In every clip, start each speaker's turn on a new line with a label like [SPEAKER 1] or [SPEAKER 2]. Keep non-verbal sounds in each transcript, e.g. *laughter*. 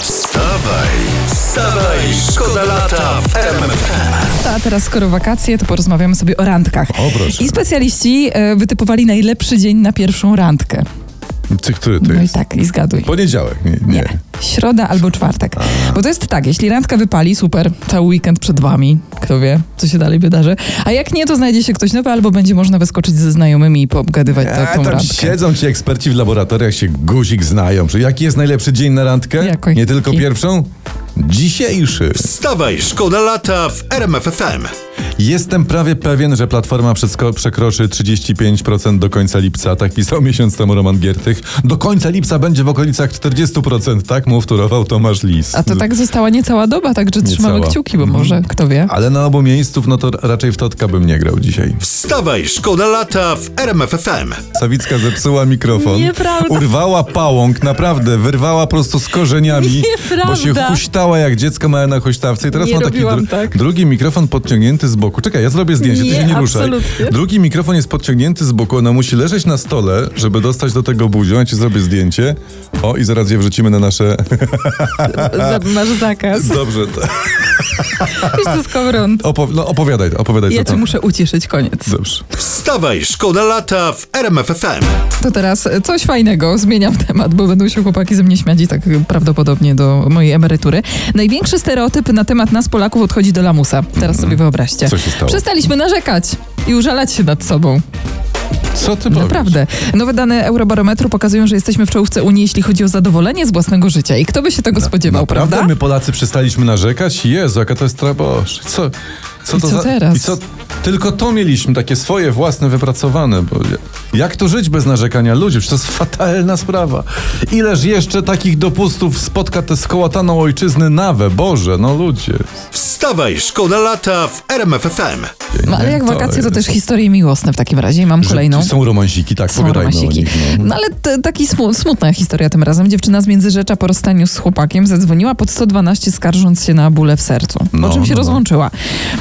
[SPEAKER 1] Wstawaj, wstawaj, szkoda lata w RMF.
[SPEAKER 2] A teraz, skoro wakacje, to porozmawiamy sobie o randkach.
[SPEAKER 3] O, proszę.
[SPEAKER 2] I specjaliści e, wytypowali najlepszy dzień na pierwszą randkę.
[SPEAKER 3] Ty, który to
[SPEAKER 2] No i
[SPEAKER 3] jest?
[SPEAKER 2] tak, i zgaduj.
[SPEAKER 3] Poniedziałek, nie. nie.
[SPEAKER 2] Nie. Środa albo czwartek. Bo to jest tak, jeśli randka wypali, super, cały weekend przed wami. Kto wie, co się dalej wydarzy. A jak nie, to znajdzie się ktoś nowy, albo będzie można wyskoczyć ze znajomymi i poobgadywać
[SPEAKER 3] A,
[SPEAKER 2] taką
[SPEAKER 3] E, tam
[SPEAKER 2] randkę.
[SPEAKER 3] siedzą ci eksperci w laboratoriach, się guzik znają. Czy jaki jest najlepszy dzień na randkę?
[SPEAKER 2] Jako
[SPEAKER 3] Nie tylko
[SPEAKER 2] jaki?
[SPEAKER 3] pierwszą? Dzisiejszy.
[SPEAKER 1] Wstawaj, szkoda lata w RMF FM.
[SPEAKER 3] Jestem prawie pewien, że Platforma przesko- przekroczy 35% do końca lipca. Tak pisał miesiąc temu Roman Giertych. Do końca lipca będzie w okolicach 40%, tak mu wtórował Tomasz Lis.
[SPEAKER 2] A to tak została niecała doba, także trzymamy
[SPEAKER 3] Niecała.
[SPEAKER 2] kciuki, bo może, kto wie.
[SPEAKER 3] Ale na obu miejsców, no to raczej w Totka bym nie grał dzisiaj.
[SPEAKER 1] Wstawaj, szkoda lata w RMF FM.
[SPEAKER 3] Sawicka zepsuła mikrofon.
[SPEAKER 2] Nieprawda.
[SPEAKER 3] Urwała pałąk, naprawdę, wyrwała prosto z korzeniami.
[SPEAKER 2] Nieprawda.
[SPEAKER 3] Bo się huśtała jak dziecko małe na huśtawce i teraz
[SPEAKER 2] Nie
[SPEAKER 3] ma taki
[SPEAKER 2] robiłam tak.
[SPEAKER 3] drugi mikrofon podciągnięty z boku. Czekaj, ja zrobię zdjęcie,
[SPEAKER 2] Nie,
[SPEAKER 3] ty się nie ruszaj.
[SPEAKER 2] absolutnie.
[SPEAKER 3] Drugi mikrofon jest podciągnięty z boku, ona musi leżeć na stole, żeby dostać do tego buzią. Ja ci zrobię zdjęcie. O, i zaraz je wrzucimy na nasze...
[SPEAKER 2] Za- Masz
[SPEAKER 3] *laughs*
[SPEAKER 2] zakaz.
[SPEAKER 3] Dobrze, to-
[SPEAKER 2] Wiesz co, skowron.
[SPEAKER 3] opo- no, opowiadaj, opowiadaj
[SPEAKER 2] Ja
[SPEAKER 3] co
[SPEAKER 2] cię
[SPEAKER 3] tam.
[SPEAKER 2] muszę ucieszyć, koniec.
[SPEAKER 3] Dobrze.
[SPEAKER 1] Wstawaj, szkoda lata w RMF FM.
[SPEAKER 2] To teraz coś fajnego, zmieniam *laughs* temat, bo będą się chłopaki ze mnie śmiać i tak prawdopodobnie do mojej emerytury. Największy stereotyp na temat nas Polaków odchodzi do lamusa. Teraz sobie wyobraźcie.
[SPEAKER 3] Mhm. Co się stało?
[SPEAKER 2] Przestaliśmy narzekać i użalać się nad sobą.
[SPEAKER 3] Co ty powiesz?
[SPEAKER 2] Naprawdę. Nowe dane Eurobarometru pokazują, że jesteśmy w czołówce Unii, jeśli chodzi o zadowolenie z własnego życia. I kto by się tego spodziewał,
[SPEAKER 3] Prawda?
[SPEAKER 2] No prawda?
[SPEAKER 3] My Polacy przestaliśmy narzekać? Jezu, jaka to jest trabosz. Co, co
[SPEAKER 2] I
[SPEAKER 3] to
[SPEAKER 2] co
[SPEAKER 3] za...
[SPEAKER 2] teraz?
[SPEAKER 3] I co... Tylko to mieliśmy, takie swoje, własne, wypracowane. Bo jak tu żyć bez narzekania ludzi? Przecież to jest fatalna sprawa. Ileż jeszcze takich dopustów spotka tę skołataną ojczyznę nawę? Boże, no ludzie.
[SPEAKER 1] Wstawaj, szkoda lata w RMF FM.
[SPEAKER 2] No, ale jak wakacje, to też historie miłosne w takim razie. I Mam kolejną.
[SPEAKER 3] Są romansiki, tak,
[SPEAKER 2] Są
[SPEAKER 3] pogadajmy o
[SPEAKER 2] romansiki.
[SPEAKER 3] nich. No.
[SPEAKER 2] No ale t- taki smu- smutna historia tym razem. Dziewczyna z Międzyrzecza po rozstaniu z chłopakiem zadzwoniła pod 112 skarżąc się na bóle w sercu, po
[SPEAKER 3] No,
[SPEAKER 2] czym się
[SPEAKER 3] no, no.
[SPEAKER 2] rozłączyła.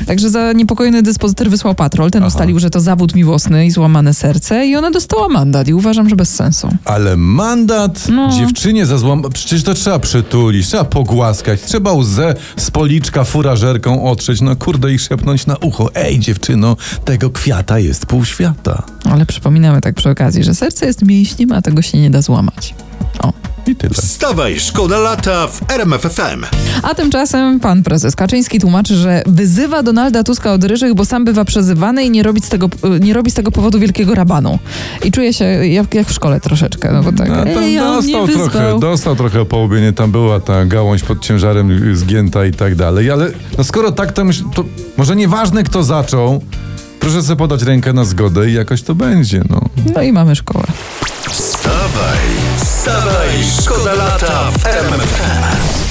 [SPEAKER 2] Także zaniepokojony dyspozytor wysłał patrol. Ten ustalił, że to zawód miłosny i złamane serce i ona dostała mandat i uważam, że bez sensu.
[SPEAKER 3] Ale mandat
[SPEAKER 2] No.
[SPEAKER 3] dziewczynie za złam... Przecież to trzeba przytulić, trzeba pogłaskać, trzeba łzę z policzka furażerką otrzeć, no kurde i szepnąć na ucho. Ej dziewczyno, tego kwiata jest pół świata.
[SPEAKER 2] Ale przypominamy tak przy okazji, że serce jest mięśniem, a tego się nie da złamać. O.
[SPEAKER 3] I tyle.
[SPEAKER 1] Wstawaj, szkoda lata w RMF FM.
[SPEAKER 2] A tymczasem pan prezes Kaczyński tłumaczy, że wyzywa Donalda Tuska od ryżych, bo sam bywa przezywany i nie robi z tego, nie robi z tego powodu wielkiego rabanu. I czuje się jak, jak w szkole troszeczkę, no bo tak.
[SPEAKER 3] A tam
[SPEAKER 2] Ej, on mnie
[SPEAKER 3] dostał
[SPEAKER 2] wyzwał.
[SPEAKER 3] trochę, dostał trochę połubienie, tam była ta gałąź pod ciężarem y, zgięta i tak dalej, ale no skoro tak, to, myśl, to może nieważne kto zaczął, proszę sobie podać rękę na zgodę i jakoś to będzie, no.
[SPEAKER 2] No i mamy szkołę.
[SPEAKER 1] Wstawaj, wstawaj, szkoda lata w RMF FM.